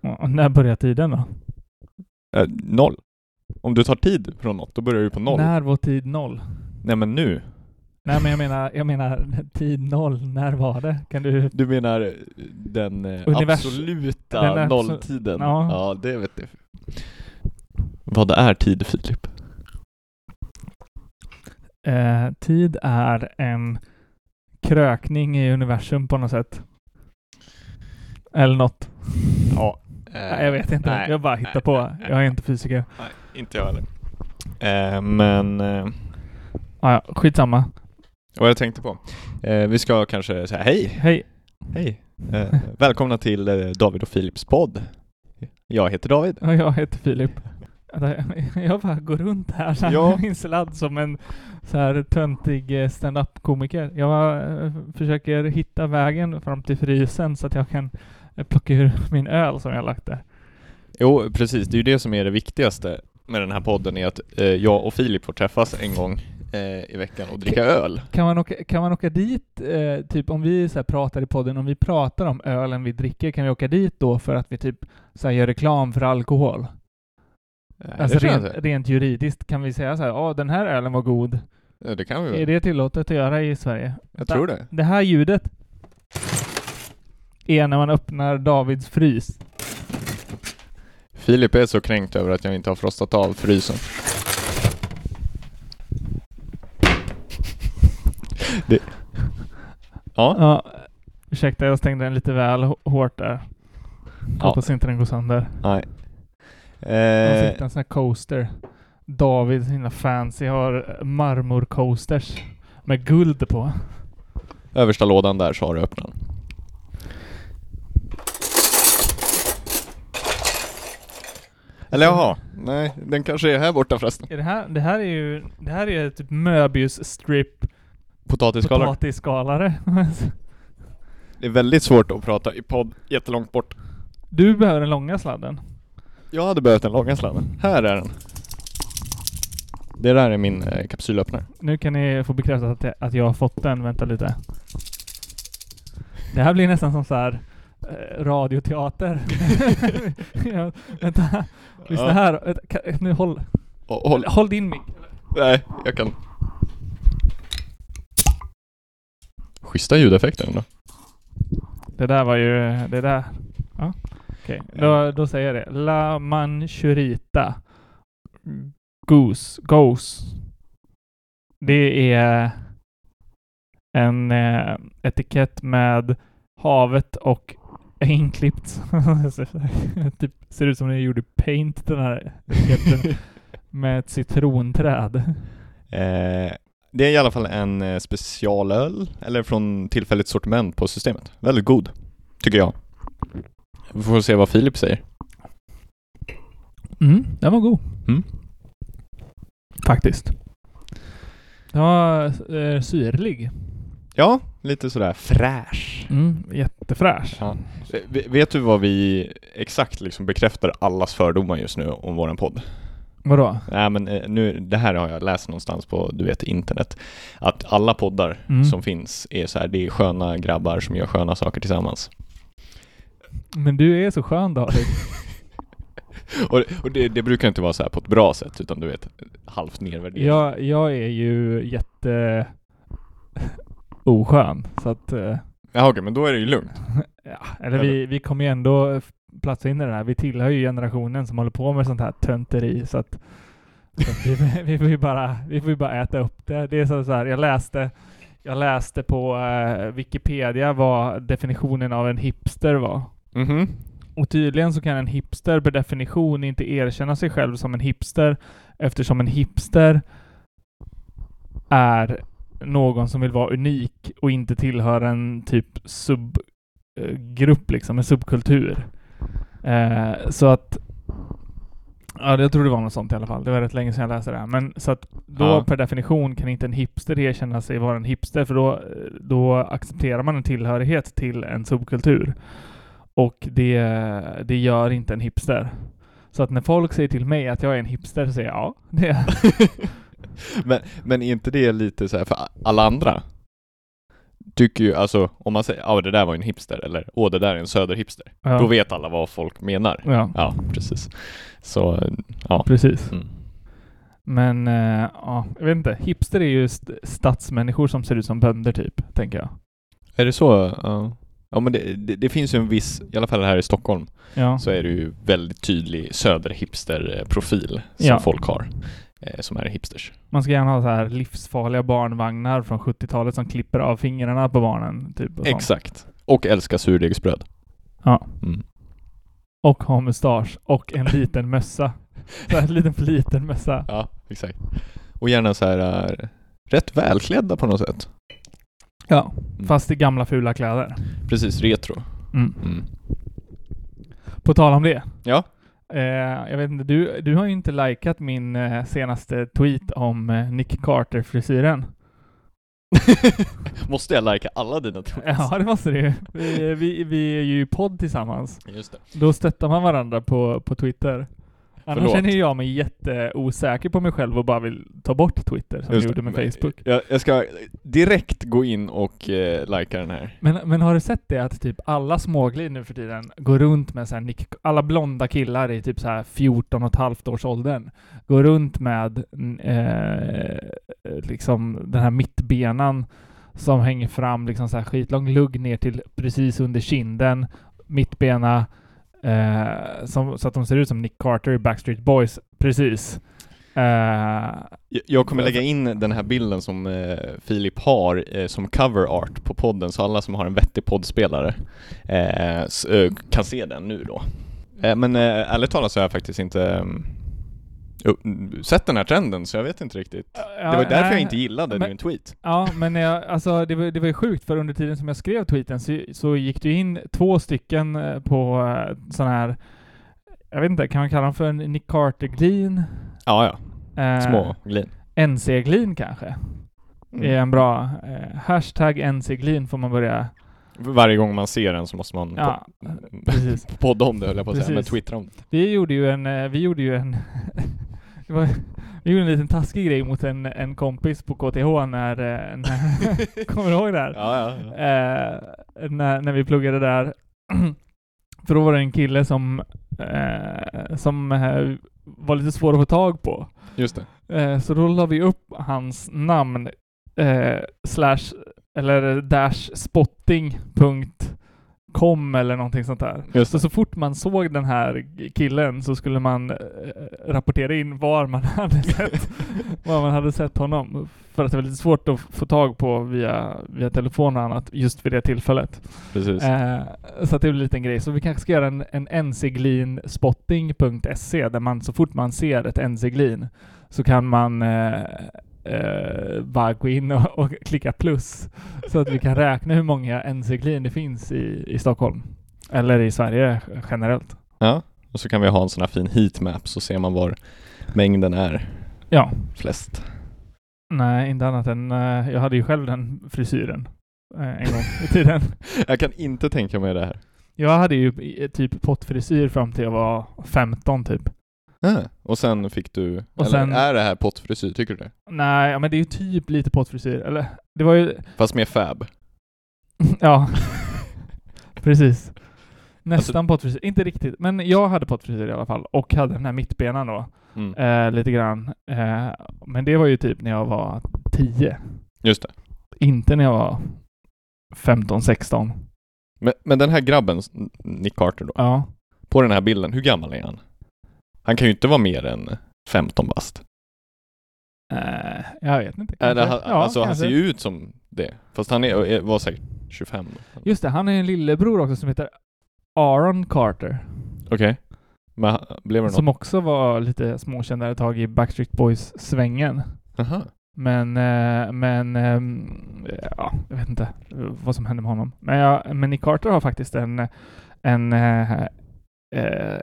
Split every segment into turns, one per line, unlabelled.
Ja, när börjar tiden då?
Eh, noll. Om du tar tid från något, då börjar du på noll.
När var tid noll?
Nej men nu.
Nej men jag menar, jag menar tid noll, när var det? Kan du...
Du menar eh, den eh,
Univers-
absoluta
den absol-
nolltiden?
Ja.
ja, det vet du. Vad är tid, Filip?
Eh, tid är en krökning i universum på något sätt. Eller något.
Ja.
Nej, jag vet inte.
Eh, nej,
jag bara hittar
nej,
på.
nej, nej.
jag är inte fysiker.
eh, Nej, inte jag heller. Eh, men, eh,
Ah, ja, skitsamma.
vad jag tänkte på. Eh, vi ska kanske säga hej.
Hej.
Hej. Eh, välkomna till eh, David och Filips podd. Jag heter David.
Ja, Jag heter Filip. Jag bara går runt här så
Ja.
här inslad som en så här töntig eh, stand-up-komiker. Jag eh, försöker hitta vägen fram till frysen så att jag kan eh, plocka ur min öl som jag lagt där.
Jo, precis. Det är ju det som är det viktigaste med den här podden är att eh, jag och Filip får träffas en gång eh, i veckan och dricka öl.
Kan man åka, kan man åka dit, eh, typ om vi så här pratar i podden, om vi pratar om ölen vi dricker, kan vi åka dit då för att vi typ så här gör reklam för alkohol?
Nej,
alltså
Eh, det, tror jag
rent,
inte.
rent juridiskt, kan vi säga så här, ja den här ölen var god.
Ja, det kan vi
Är
väl?
det tillåtet att göra i Sverige?
Mm. Jag tror det.
Det här ljudet är när man öppnar Davids frys.
Filip är så kränkt över att jag inte har frostat av frysen. Det... Ja,
Ja, ursäkta, jag stängde den lite väl h- hårt där.
Ja.
Hoppas inte den går sönder.
nej.
Jag
Eh,
måste hitta en sån här coaster. David, sina fancy, har eh, marmorcoasters med guld på.
översta lådan där så har du öppnat. Eller jaha, nej, den kanske är här borta förresten.
Är det, här, det här är ju det här är ju typ Möbius strip
Potatisskalor.
potatisskalare.
Det är väldigt svårt att prata i podd jättelångt bort.
du behöver den långa sladden.
Jag hade behövt den långa sladden. Här är den. Det där är min eh, kapsylöppnare.
Nu kan ni få bekräftat att jag, att jag har fått den. Vänta lite. Det här blir nästan som så här eh, radioteater. ja, vänta, lyssna
Ja.
här. Vänta, ka- Nu håll,
Och håll.
håll din mick.
Nej, jag kan. Schyssta ljudeffekter ändå.
Det där var ju, det där. Ja. Okej, då, då säger jag det. La Manchurita. Goose, Goose. Det är en eh, etikett med havet och inklippt. typ, ser ut som den är gjord i paint den här etiketten. med ett citronträd.
Eh, det är i alla fall en eh, specialöl, eller från tillfälligt sortiment på systemet. Väldigt god, tycker jag. Vi får se vad Filip säger.
Mm, den var god.
Mm.
Faktiskt. Den var eh, syrlig.
Ja, lite sådär fräsch.
Mm, jättefräsch.
Ja. V- Vet du vad vi exakt liksom bekräftar allas fördomar just nu om våran podd?
Vadå?
Nej men eh, nu, det här har jag läst någonstans på, du vet, internet. Att alla poddar
Mm.
som finns är så här, det är sköna grabbar som gör sköna saker tillsammans.
Men du är så skön David.
Och, och det, det brukar inte vara så här på ett bra sätt, utan du vet, halvt nedvärderat.
jag, jag är ju jätte... oskön. Så att... eh,
Ja, okej, men då är det ju lugnt.
Ja, eller vi, vi kommer ju ändå eh, platsa in i det här. Vi tillhör ju generationen som håller på med sånt här tönteri. Så att, så att vi, vi, får ju bara, vi får ju bara äta upp det. Det är så, så här, jag läste, jag läste på eh, Wikipedia vad definitionen av en hipster var.
Mhm.
Och tydligen så kan en hipster per definition inte erkänna sig själv som en hipster eftersom en hipster är någon som vill vara unik och inte tillhör en typ subgrupp, liksom, en subkultur. Eh, så att Ja, jag tror det var något sånt i alla fall. Det var rätt länge sedan jag läste det här. Men så att då
Ja.
per definition kan inte en hipster erkänna sig vara en hipster för då, då accepterar man en tillhörighet till en subkultur. Och det, det gör inte en hipster. Så att när folk säger till mig att jag är en hipster så säger jag ja, det är jag.
men, men är inte det lite så här för alla andra? Tycker ju, alltså om man säger ja det där var ju en hipster eller åh det där är en söderhipster.
Ja. Mm.
Då vet alla vad folk menar.
Ja,
Ja, precis. Så, ja.
precis.
Mm.
Men eh, ja, jag vet inte. Hipster är ju st- stadsmänniskor som ser ut som bönder typ, tänker jag.
Är det så? Ja. Ja men det, det, det finns ju en viss, i alla fall här i Stockholm,
Ja,
så är det ju väldigt tydlig söderhipster-profil som
Ja.
folk har. eh, Som är hipsters.
man ska gärna ha så här livsfarliga barnvagnar från 70-talet som klipper av fingrarna på barnen. Typ, och sånt.
Exakt. Och älskar surdegsbröd.
Ja.
Mm.
Och ha mustasch och en liten mössa. Så här, en liten för liten mössa.
Ja, exakt. Och gärna så här eh, rätt välklädda på något sätt.
Ja.
Mm.
Fast i gamla fula kläder.
Precis, retro.
Mm.
Mm.
På tal om det.
Ja.
Eh, jag vet inte, du, du har ju inte likat min eh, senaste tweet om eh, Nick Carter-frisyren.
Måste jag lajka alla dina tweets?
Ja, det måste det ju. Vi, vi, vi är ju i podd tillsammans.
Just det.
Då stöttar man varandra på, på Twitter. Annars
Förlåt.
känner jag mig jätteosäker på mig själv och bara vill ta bort Twitter som
Just
jag gjorde
det.
med Facebook.
Jag, jag ska direkt gå in och eh, lajka den här.
Men, men har du sett det att typ alla småglid nu för tiden går runt med så här Nick, alla blonda killar i typ så här 14 och ett halvt års åldern går runt med mm, eh, liksom den här mittbenan som hänger fram liksom så här skitlång lugg ner till precis under kinden, mittbena eh, som, så att de ser ut som Nick Carter i Backstreet Boys, precis. Eh,
Jag- Jag kommer lägga in den här bilden som eh, Filip har eh, som cover art på podden, så alla som har en vettig poddspelare eh, s- eh, kan se den nu då. Eh, men eh, ärligt talat så har jag faktiskt inte mm, upp- sett den här trenden, så jag vet inte riktigt. det var
ja,
därför jag
nej.
inte gillade
men-
din tweet.
Ja, men jag, alltså, det, var, det var ju sjukt för under tiden som jag skrev tweeten så, så gick det ju in två stycken eh, på eh, sån här, jag vet inte, kan man kalla dem för en Nick Carter-glin?
Ja, ja.
Eh,
Små Mm. glin.
NC-glin kanske? Är en bra eh, hashtag NC-glin får man börja,
Varje gång man ser den så måste man
ja,
po-
precis.
podda om det höll jag på att säga, men
Precis.
twittra om det.
Vi gjorde ju en, eh, vi gjorde ju en, det var, vi gjorde en liten taskig grej mot en, en kompis på KTH när, eh, när kommer du ihåg det här?
Ja, ja, ja.
eh, när, när vi pluggade där. För då var det en kille som, eh, som eh, var lite svår att få tag på.
Just det.
Eh, så då la vi upp hans namn eh, slash eller dash spotting.com eller någonting sånt där.
Just
Så, så fort man såg den här killen så skulle man eh, rapportera in var man hade sett, var man hade sett honom. För att det var lite svårt att få tag på via, via telefon och annat just vid det tillfället.
Precis.
Eh, så att det blev en liten grej. Så vi kanske ska göra en, en ncglinspotting.se där man så fort man ser ett ncglin så kan man eh, eh, bara gå in och, och klicka plus så att vi kan räkna hur många NC-glin det finns i, i Stockholm. Eller i Sverige generellt.
Ja, och så kan vi ha en sån här fin heatmap så ser man var mängden är
Ja.
flest.
Nej, inte annat än... eh, jag hade ju själv den frisyren eh, en gång i tiden.
Jag kan inte tänka mig det här.
Jag hade ju eh, typ pottfrisyr fram till jag var 15 typ.
Ah, och sen fick du,
Och
eller
sen-
är det här pottfrisyr, tycker du det?
Nej, ja, men det är ju typ lite pottfrisyr. Eller, det var ju...
Fast mer fab.
ja. Precis. Nästan
Alltså-
pottfrisyr. Inte riktigt, men jag hade pottfrisyr i alla fall. Och hade den här mittbenan då.
Mm.
Eh, lite grann. Eh, men det var ju typ när jag var 10.
Just det.
Inte när jag var 15, 16.
Men, men den här grabben, Nick Carter då,
Ja.
på den här bilden, hur gammal är han? Han kan ju inte vara mer än 15 bast.
Eh, jag vet inte.
Eller,
kanske.
han, alltså han
kanske.
ser ju ut som det. Fast han är, är- var säkert 25 då.
Just det, han är en lillebror också som heter Aaron Carter.
Okej. Men han- blev det något?
Som också var lite småkändare ett tag i Backstreet Boys-svängen.
Aha.
Men, eh, men, ehm, ja, jag vet inte vad som hände med honom. Men, jag, men Nick Carter har faktiskt en, en, eh, eh,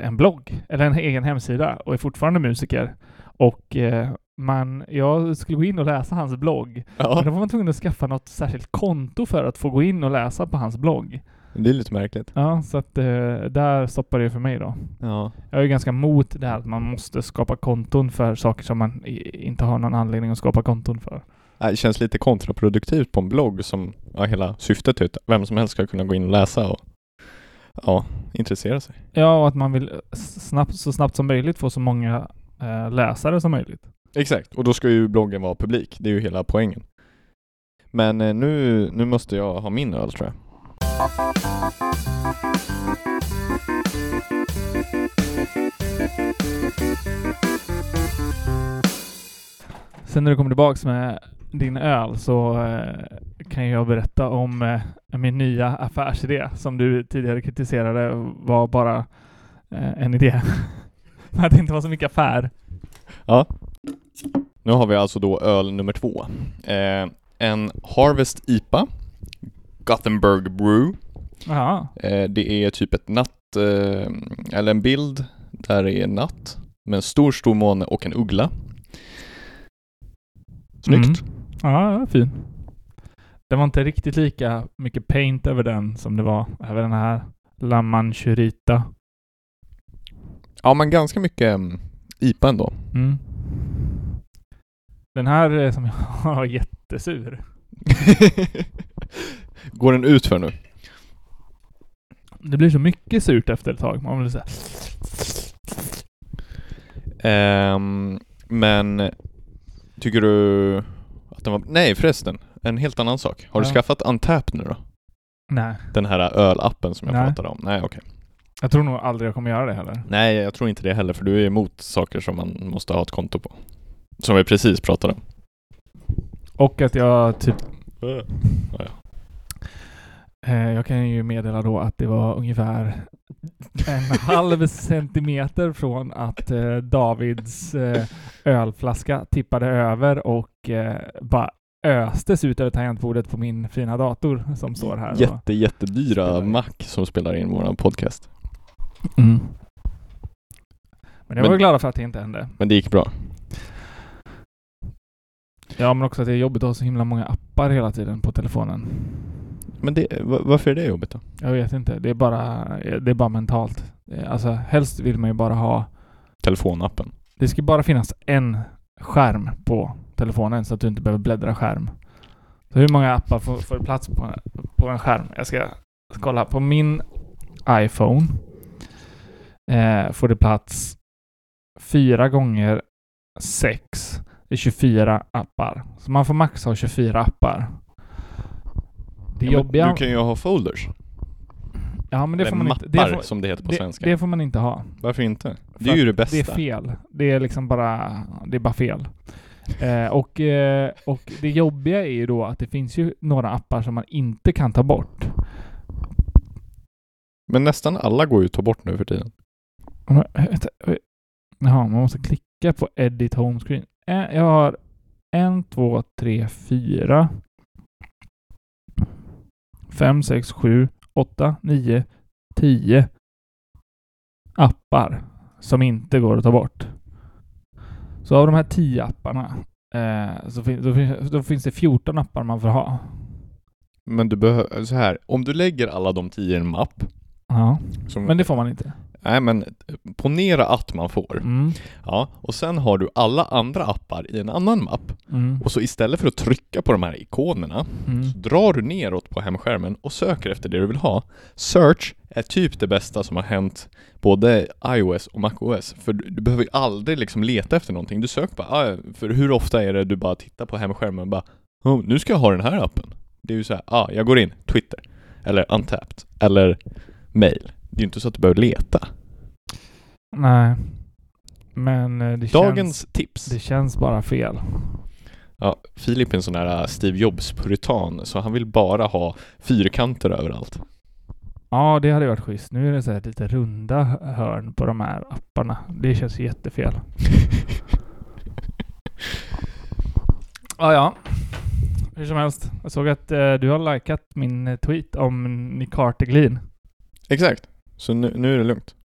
en blogg, eller en egen hemsida och är fortfarande musiker. Och eh, man, jag skulle gå in och läsa hans blogg, men
Ja.
då var man tvungen att skaffa något särskilt konto för att få gå in och läsa på hans blogg.
Det är lite märkligt.
Ja, så att eh, där stoppar det för mig då.
Ja.
Jag är ju ganska mot det här att man måste skapa konton för saker som man i, inte har någon anledning att skapa konton för.
Det känns lite kontraproduktivt på en blogg som ja, hela syftet ut. Vem som helst ska kunna gå in och läsa och ja, intressera sig.
Ja, och att man vill snabbt, så snabbt som möjligt få så många eh, läsare som möjligt.
Exakt, och då ska ju bloggen vara publik. Det är ju hela poängen. Men eh, nu, nu måste jag ha min öl tror jag.
Sen när du kommer tillbaks med din öl så eh, kan jag berätta om eh, min nya affärsidé som du tidigare kritiserade var bara eh, en idé. att det inte var så mycket affär.
Nu har vi alltså då öl nummer två. Eh, en Harvest IPA, Gothenburg Brew.
Jaha.
Eh, det är typ ett natt, eh, eller en bild där det är natt med en stor, stor måne och en uggla. Snyggt.
Mm. Ja, den var fin. Det var inte riktigt lika mycket paint över den som det var över den här La Manchurita.
Ja, men ganska mycket mm, IPA ändå.
Mm. Den här eh, som jag har var jättesur.
Går den ut för nu?
Det blir så mycket surt efter ett tag. Man vill säga.
Ehm, men tycker du att den var... Nej förresten, en helt annan sak. Har du
Ja.
skaffat Untap nu då?
Nej,
Den här ölappen som jag
Nej.
pratade om? Nej, okej.
jag tror nog aldrig jag kommer göra det heller.
Nej, jag tror inte det heller för du är emot saker som man måste ha ett konto på. Som vi precis pratade om.
Och att jag typ...
Ja, ja.
Eh, jag kan ju meddela då att det var ungefär en halv centimeter från att eh, Davids eh, ölflaska tippade över och eh, bara östes ut över tangentbordet på min fina dator som står här. och-
Jätte, jättedyra
Spelar in.
Mac som spelar in våran podcast.
Mm. Men jag var
Men-
glad för att det inte hände.
Men det gick bra.
Ja, men också att det är jobbigt att ha så himla många appar hela tiden på telefonen.
Men det, va- varför är det jobbigt då?
Jag vet inte. Det är bara, det är bara mentalt. Eh, Alltså, helst vill man ju bara ha...
Telefonappen.
Det ska bara finnas en skärm på telefonen så att du inte behöver bläddra skärm. Så hur många appar får, får plats på, på en skärm? Jag ska kolla. På min iPhone eh, får det plats fyra gånger sex. Det är 24 appar. Så man får max ha 24 appar. Det
Ja, men
jobbiga...
Du kan ju ha folders.
ja, men det
Eller
får man
mappar
inte... Det får,
som det heter på
det,
svenska.
det får man inte ha.
Varför inte? Det
För
är ju
Det
det
är
bästa.
fel. Det är liksom bara, det är bara fel. Eh, och, eh, och det jobbiga är ju då att det finns ju några appar som man inte kan ta bort.
Men nästan alla går ju att ta bort nu för tiden.
Men, eh, eh, Jaha, man måste klicka på edit home screen. Eh, Jag har en, två, tre, fyra, fem, sex, sju, åtta, nio, tio appar som inte går att ta bort. Så av de här 10 apparna eh, så fin- då, fin- då finns det 14 appar man får ha.
Men du behöver, så här, om du lägger alla de tio i en mapp,
Ja,
som,
men det får man inte.
nej men ponera att man får,
Mm,
ja, och sen har du alla andra appar i en annan mapp,
mm,
och så istället för att trycka på de här ikonerna,
mm.
så drar du neråt på hemskärmen och söker efter det du vill ha. Search är typ det bästa som har hänt både iOS och MacOS, för du du behöver ju aldrig liksom leta efter någonting, du söker bara, ah, för hur ofta är det du bara tittar på hemskärmen och bara oh, nu ska jag ha den här appen. Det är ju så här, ah, jag går in, Twitter, eller Untapped, eller mail. Det är ju inte så att du behöver leta.
Nej. Men eh, det känns...
Dagens tips.
Det känns bara fel.
Ja, Filip är en sån här äh, Steve Jobs-puritan, så han vill bara ha fyrkanter överallt.
Ja, det hade varit schysst. Nu är det så här lite runda hörn på de här apparna. Det känns jättefel. ja, ja. Hur som helst. Jag såg att eh, du har likat min eh, tweet om Nick Harteglin.
Exakt. Så nu, nu är det lugnt.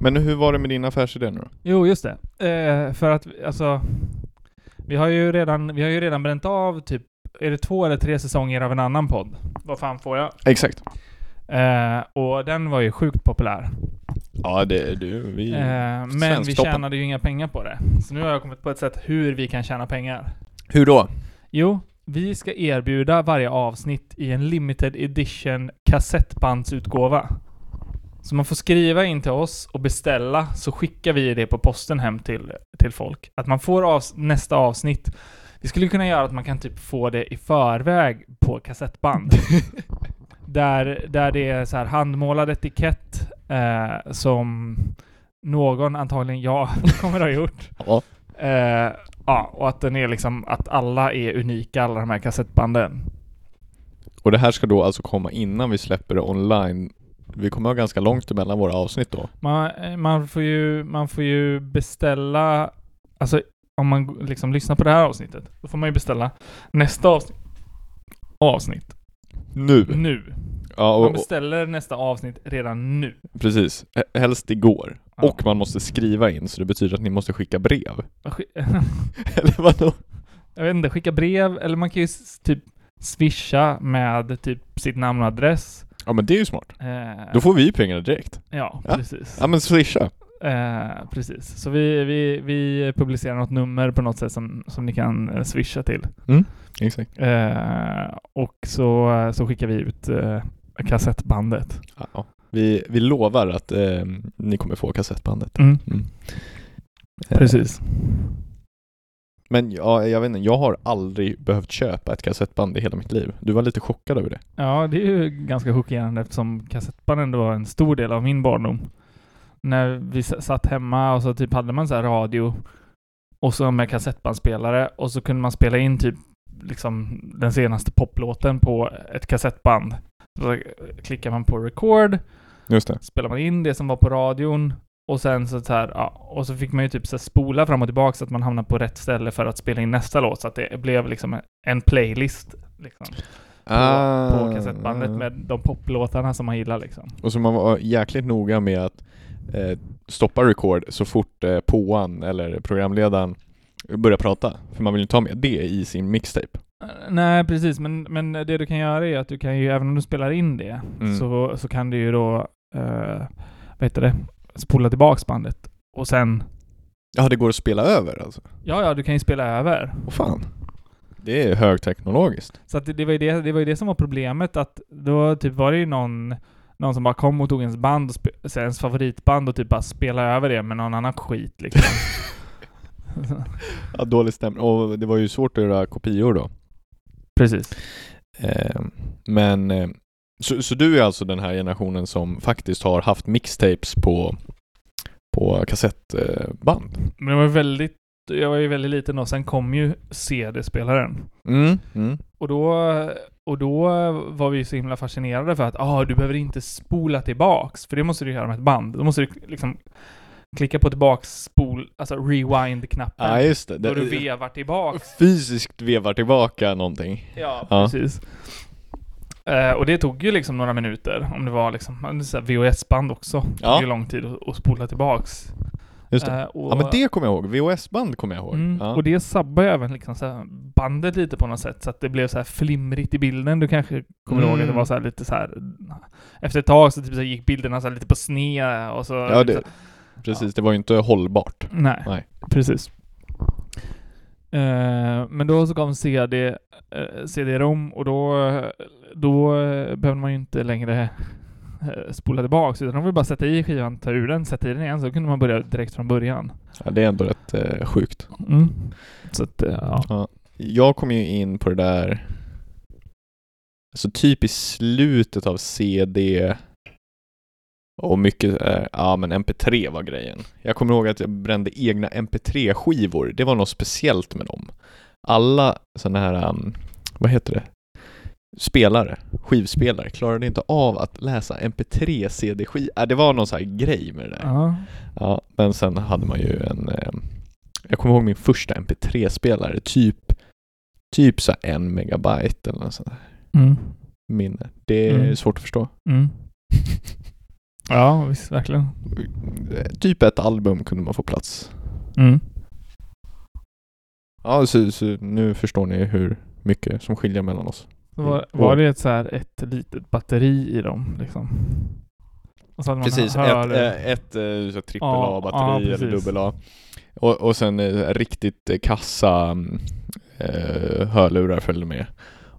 Men hur var det med din affärsidé nu då?
Jo, just det. Eh, för att, alltså... Vi har, ju redan, vi har ju redan bränt av typ... Är det två eller tre säsonger av en annan podd? Vad fan får jag?
Exakt.
Eh, och den var ju sjukt populär.
Ja, det, du, vi...
Eh, men vi
Svensktoppen.
tjänade ju inga pengar på det. Så nu har jag kommit på ett sätt hur vi kan tjäna pengar.
Hur då?
Jo, vi ska erbjuda varje avsnitt i en limited edition kassettbandsutgåva. Så man får skriva in till oss och beställa, så skickar vi det på posten hem till, till folk. Att man får avs- nästa avsnitt. Vi skulle kunna göra att man kan typ få det i förväg på kassettband. där, där det är så här handmålad etikett eh, som någon, antagligen jag, kommer ha gjort.
Ja.
Eh, ja, och att den är liksom, att alla är unika, alla de här kassettbanden.
Och det här ska då alltså komma innan vi släpper det online. Vi kommer ha ganska långt emellan våra avsnitt då.
Man, eh, man, får, ju, man får ju beställa, alltså om man g- liksom lyssnar på det här avsnittet, då får man ju beställa nästa avsnitt. Avsnitt.
Nu!
Nu.
Mm. Ja,
Man
och, och,
beställer nästa avsnitt redan nu.
precis. H- Helst igår.
Ja.
Och man måste skriva in, så det betyder att ni måste skicka brev.
Sk-
Eller vadå?
Jag vet inte, skicka brev, eller man kan ju s- typ swisha med typ sitt namn och adress.
Ja men det är ju smart.
Eh,
Då får vi ju pengarna direkt.
ja,
Ja.
precis.
Ja men swisha.
Eh, precis. Så vi, vi, vi publicerar något nummer på något sätt som, som ni kan eh, swisha till.
Exakt.
Eh, och så, så skickar vi ut eh, kassettbandet.
Ja, ja. Vi, vi lovar att eh, ni kommer få kassettbandet. Mm.
Precis.
Men ja, jag vet inte, jag har aldrig behövt köpa ett kassettband i hela mitt liv. Du var lite chockad över det.
Ja, det är ju ganska chockerande eftersom kassettband ändå var en stor del av min barndom. När vi s- satt hemma och så typ hade man så här radio och så med kassettbandspelare och så kunde man spela in typ liksom den senaste poplåten på ett kassettband. Så klickar man på record
Just det.
spelar man in det som var på radion och sen så, så här, ja, och så fick man ju typ så här spola fram och tillbaka så att man hamnade på rätt ställe för att spela in nästa låt så att det blev liksom en playlist liksom, på,
Ah.
på kassettbandet med de poplåtarna som man gillar liksom.
Och så man var jäkligt noga med att eh, stoppa record så fort eh, påan eller programledaren börjar prata. För man vill inte ta med det i sin mixtape.
Eh, Nej precis, men, men det du kan göra är att du kan ju, även om du spelar in det,
Mm.
så, så kan du ju då, eh, vad heter det, spola tillbaks bandet och sen,
Ja, det går att spela över alltså.
ja ja, du kan ju spela över.
Åh fan. Det är högteknologiskt.
Så att det, det, var ju det, det var ju det som var problemet, att då typ var det ju någon, någon som bara kom och tog ens band, och spe, så här, ens favoritband och typ bara spelade över det med någon annan skit liksom.
Ja, dålig stämning. Och det var ju svårt att göra kopior då.
Precis.
Eh, men eh, så, så du är alltså den här generationen som faktiskt har haft mixtapes på, på kassettband?
Men det var ju väldigt, jag var ju väldigt liten då, sen kom ju CD-spelaren.
Mm. mm.
Och då, och då var vi ju så himla fascinerade för att ah, du behöver inte spola tillbaks, för det måste du göra med ett band. Då måste du liksom klicka på tillbaks spol, alltså rewind-knappen.
Ja, just det.
då
det
du vevar tillbaks.
fysiskt vevar tillbaka någonting.
Ja,
Ja.
precis. Eh, och det tog ju liksom några minuter, om det var liksom man hade så här VHS-band också. Det
Ja.
tog ju lång tid att, att spola tillbaks.
Just det.
Eh, och,
Ja men det kommer jag ihåg, VHS-band kommer jag ihåg.
mm,
ja.
och det sabbade ju även liksom så här bandet lite på något sätt, så att det blev så här flimrigt i bilden. Du kanske kommer
Mm.
ihåg att det var så här lite så här efter ett tag så, typ så här gick bilderna så här lite på sned och så...
ja, det,
så,
precis, det var ju inte hållbart.
nej,
Nej.
precis. Eh, men då så kom CD, eh, CD-ROM och då, då eh, behövde man ju inte längre eh, spola tillbaks utan de ville bara sätta i skivan, ta ur den, sätta i den igen så kunde man börja direkt från början.
Ja, det är ändå rätt eh, sjukt.
Så att, eh, ja.
Jag kom ju in på det där, alltså typ i slutet av CD och mycket, eh, ja men MP3 var grejen. Jag kommer ihåg att jag brände egna MP3-skivor, det var något speciellt med dem. Alla sådana här, um, vad heter det, spelare, skivspelare klarade inte av att läsa MP3 CD-skiv, äh, det var någon sån här grej med det där.
ja.
Ja, men sen hade man ju en... Eh, jag kommer ihåg min första MP3-spelare, typ, typ så här en megabyte eller något sånt där
Mm.
minne. Det är
Mm.
svårt att förstå.
Mm. Ja, visst, verkligen.
Eh, typ ett album kunde man få plats.
Mm.
Ja, så, så nu förstår ni hur mycket som skiljer mellan oss.
Var, var det ett, så här, ett litet batteri i dem liksom? Och så att man
Precis,
hör-
ett, eh, ett eh, så trippel
Ja,
A-batteri
ja,
eller
precis.
dubbel A. Och, och sen eh, riktigt eh, kassa mm, eh, hörlurar följde med.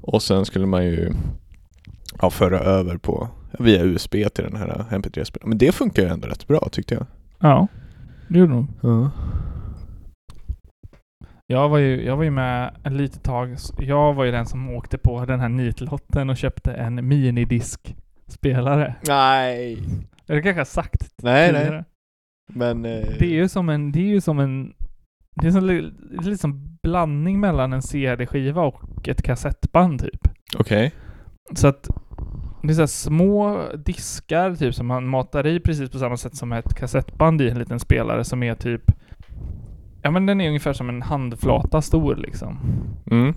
Och sen skulle man ju ja, föra över på via USB till den här MP3-spelaren. Men det funkar ju ändå rätt bra tyckte jag.
Ja, det gjorde de. Jag var ju, jag var ju med ett litet tag. Jag var ju den som åkte på den här nitlotten och köpte en minidiskspelare.
Nej,
Eller kanske jag sagt
nej, nej.
tidigare.
Men eh,
Mm. Det är ju som en, det är ju som en, det är som, li- det är liksom blandning mellan en CD-skiva och ett kassettband typ.
okej.
Så att det är så här små diskar typ som man matar i precis på samma sätt som ett kassettband i en liten spelare som är typ Ja men den är ungefär som en handflata stor liksom.
Mm.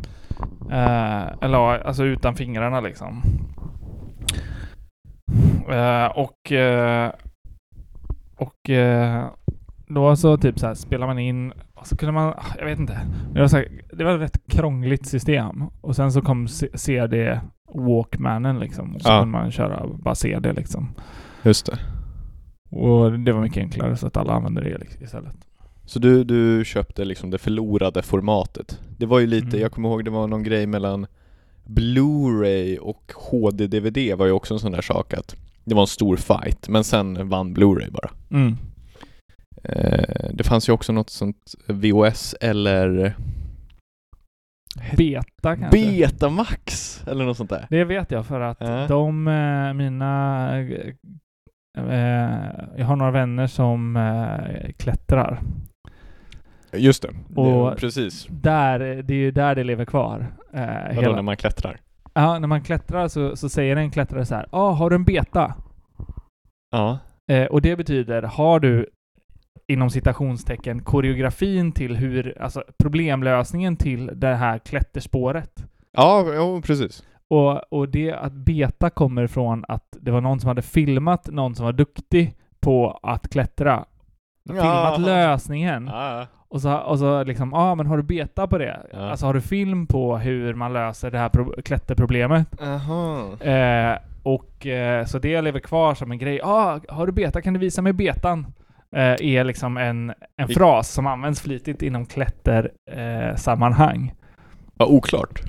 Eh, eller ja, alltså utan fingrarna liksom. Eh, och eh, och eh, då så typ så här spelar man in och så kunde man, ah, jag vet inte. Det var, så här, det var ett rätt krångligt system. Och sen så kom C- CD Walkmanen liksom. Och så
Ja.
kunde man köra bara CD liksom.
Just det.
Och det var mycket enklare så att alla använde det liksom, istället.
Så du, du köpte liksom det förlorade formatet. Det var ju lite,
Mm.
jag kommer ihåg det var någon grej mellan Blu-ray och HD-DVD var ju också en sån där sak att det var en stor fight, men sen vann Blu-ray bara.
Mm.
Eh, det fanns ju också något sånt VOS eller
Beta kanske?
Betamax eller något sånt där.
Det vet jag för att
Ja.
de, eh, mina, eh, eh, jag har några vänner som eh, klättrar.
Eh, Just det,
Och-
det precis.
Där, eh, det är ju där det lever kvar. Eh,
Vadå när
hela.
man klättrar?
Ja, när man klättrar så, så säger en klättrare så här, ah, har du en beta?
Ja.
Eh, och det betyder, har du inom citationstecken koreografin till hur, alltså problemlösningen till det här klätterspåret.
Ja, jo, precis.
Och, och det att beta kommer från att det var någon som hade filmat någon som var duktig på att klättra. Filmat lösningen.
Ja.
Och så, och så liksom, ja ah, men har du beta på det?
Ja.
Alltså har du film på hur man löser det här pro- klätterproblemet?
Aha.
Eh, och eh, så det lever kvar som en grej. Ah, har du beta? Kan du visa mig betan? Eh, är liksom en, en
I-
fras som används flitigt inom klättersammanhang. Eh, sammanhang.
Vad oklart.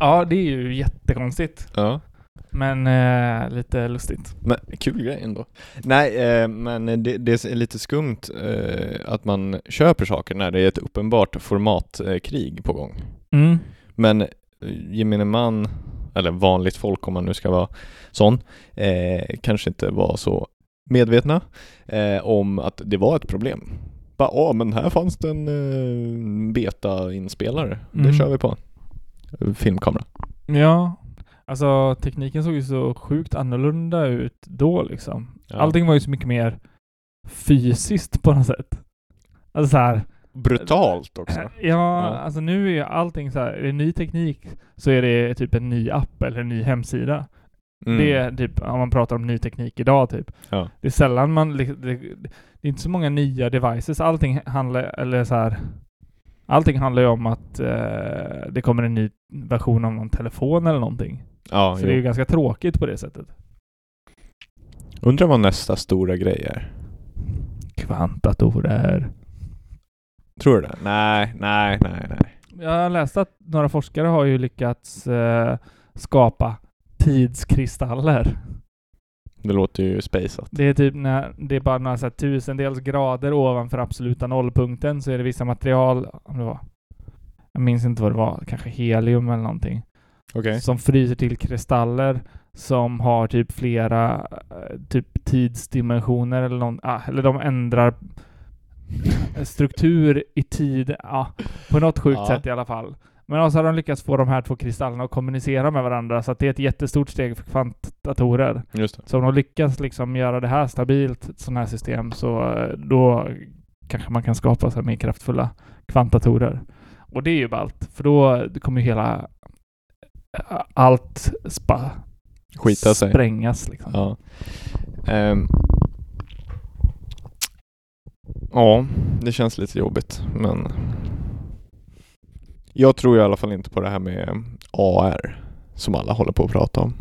ja, det är ju jättekonstigt.
Ja.
Men eh, lite lustigt.
Men, kul grej ändå. Nej, eh, men det, det är lite skumt eh, att man köper saker när det är ett uppenbart formatkrig på gång.
Mm.
Men eh, gemene man, eller vanligt folk om man nu ska vara sån, eh, kanske inte var så medvetna eh, om att det var ett problem. Bara, åh, men här fanns det en eh, beta-inspelare.
Mm.
Det kör vi på. Filmkamera.
Ja, alltså tekniken såg ju så sjukt annorlunda ut då liksom.
Ja.
Allting var ju så mycket mer fysiskt på något sätt. Alltså så här,
Brutalt också.
ja,
Ja.
alltså nu är ju allting så här, är det ny teknik så är det typ en ny app eller en ny hemsida.
Mm.
Det är typ, om man pratar om ny teknik idag typ.
Ja.
Det är sällan man, li- det, det är inte så många nya devices. Allting handlar, eller så här, allting handlar ju om att eh, det kommer en ny version av någon telefon eller någonting.
ja,
så
jo.
det är ju ganska tråkigt på det sättet.
Undrar vad nästa stora grej är.
Kvantdatorer.
Tror du det? Nej, nej, nej, nej.
Jag läste att några forskare har ju lyckats eh, skapa tidskristaller.
Det låter ju spaceat.
Det är typ när det är bara några så här tusendels grader ovanför absoluta nollpunkten så är det vissa material, om det var, jag minns inte vad det var, kanske helium eller någonting,
Okej.
som fryser till kristaller som har typ flera eh, typ tidsdimensioner eller någon, ah, eller de ändrar struktur i tid, ah, på något sjukt
Ja.
sätt i alla fall. Men också har de lyckats få de här två kristallerna att kommunicera med varandra så att det är ett jättestort steg för kvantdatorer.
Just det.
Så om de lyckas liksom göra det här stabilt, ett sådant här system, så eh, då kanske man kan skapa så här mer kraftfulla kvantdatorer. Och det är ju ballt, för då kommer ju hela eh, allt spa,
Skita sig.
sprängas. Liksom.
Ja. Ehm. Ja, det känns lite jobbigt, men... Jag tror i alla fall inte på det här med AR. som alla håller på att prata om.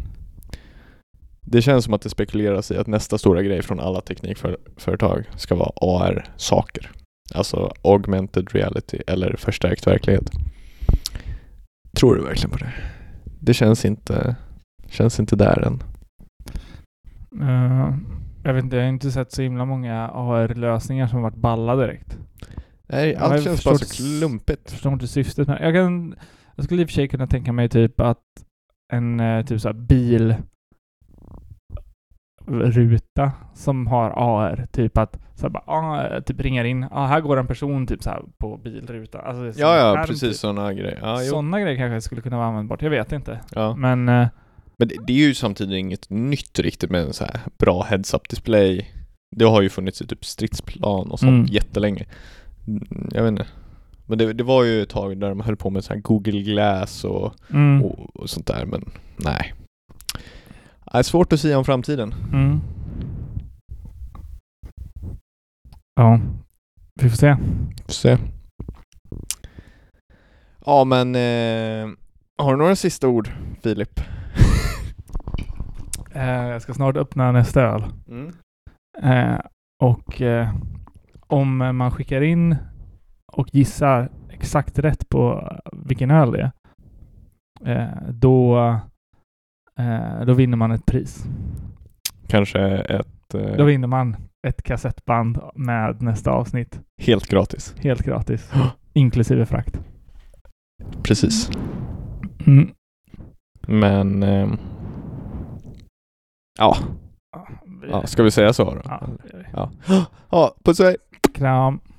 Det känns som att det spekuleras i att nästa stora grej från alla teknikföretag ska vara AR-saker. Alltså augmented reality eller förstärkt verklighet. Tror du verkligen på det? Det känns inte, känns inte där än.
Eh, jag vet inte, jag har inte sett så himla många AR-lösningar som varit balla direkt.
Nej,
Ja,
allt
jag
känns bara
förstår
så klumpigt.
Jag förstår inte syftet med jag, kan, jag skulle i och för sig kunna tänka mig typ att en eh, typ så här bil ruta som har AR, typ att så här bara, ah, typ ringar in, ah, här går en person typ så här på bilrutan. Alltså, det är som
Ja,
en
ja,
skärm,
precis
Typ.
sådana grejer. Ja, jo.
Sådana grejer kanske skulle kunna vara användbart, jag vet inte.
Ja.
Men eh,
Men det, det är ju samtidigt inget nytt riktigt med en så här bra heads-up display. Det har ju funnits i typ stridsplan och sånt
Mm.
jättelänge. Mm, Jag vet inte. Men det, det var ju ett tag där de höll på med så här Google Glass och,
mm,
och, och sånt där, men nej. Det är svårt att säga om framtiden.
mm. Ja, vi får se.
Får se. Ja, men eh, har du några sista ord, Filip?
Eh, jag ska snart öppna nästa öl.
Mm.
Eh, och eh, om man skickar in och gissar exakt rätt på vilken öl det är, eh, då, eh, då vinner man ett pris.
Kanske ett eh,
Då vinner man ett kassettband med nästa avsnitt
helt gratis.
helt gratis, inklusive frakt.
Precis.
Mm.
Men... ehm, ja,
Ja, vi-
ja, ska vi säga så då?
ja, det gör vi.
Ja, puss och hej!
Kram.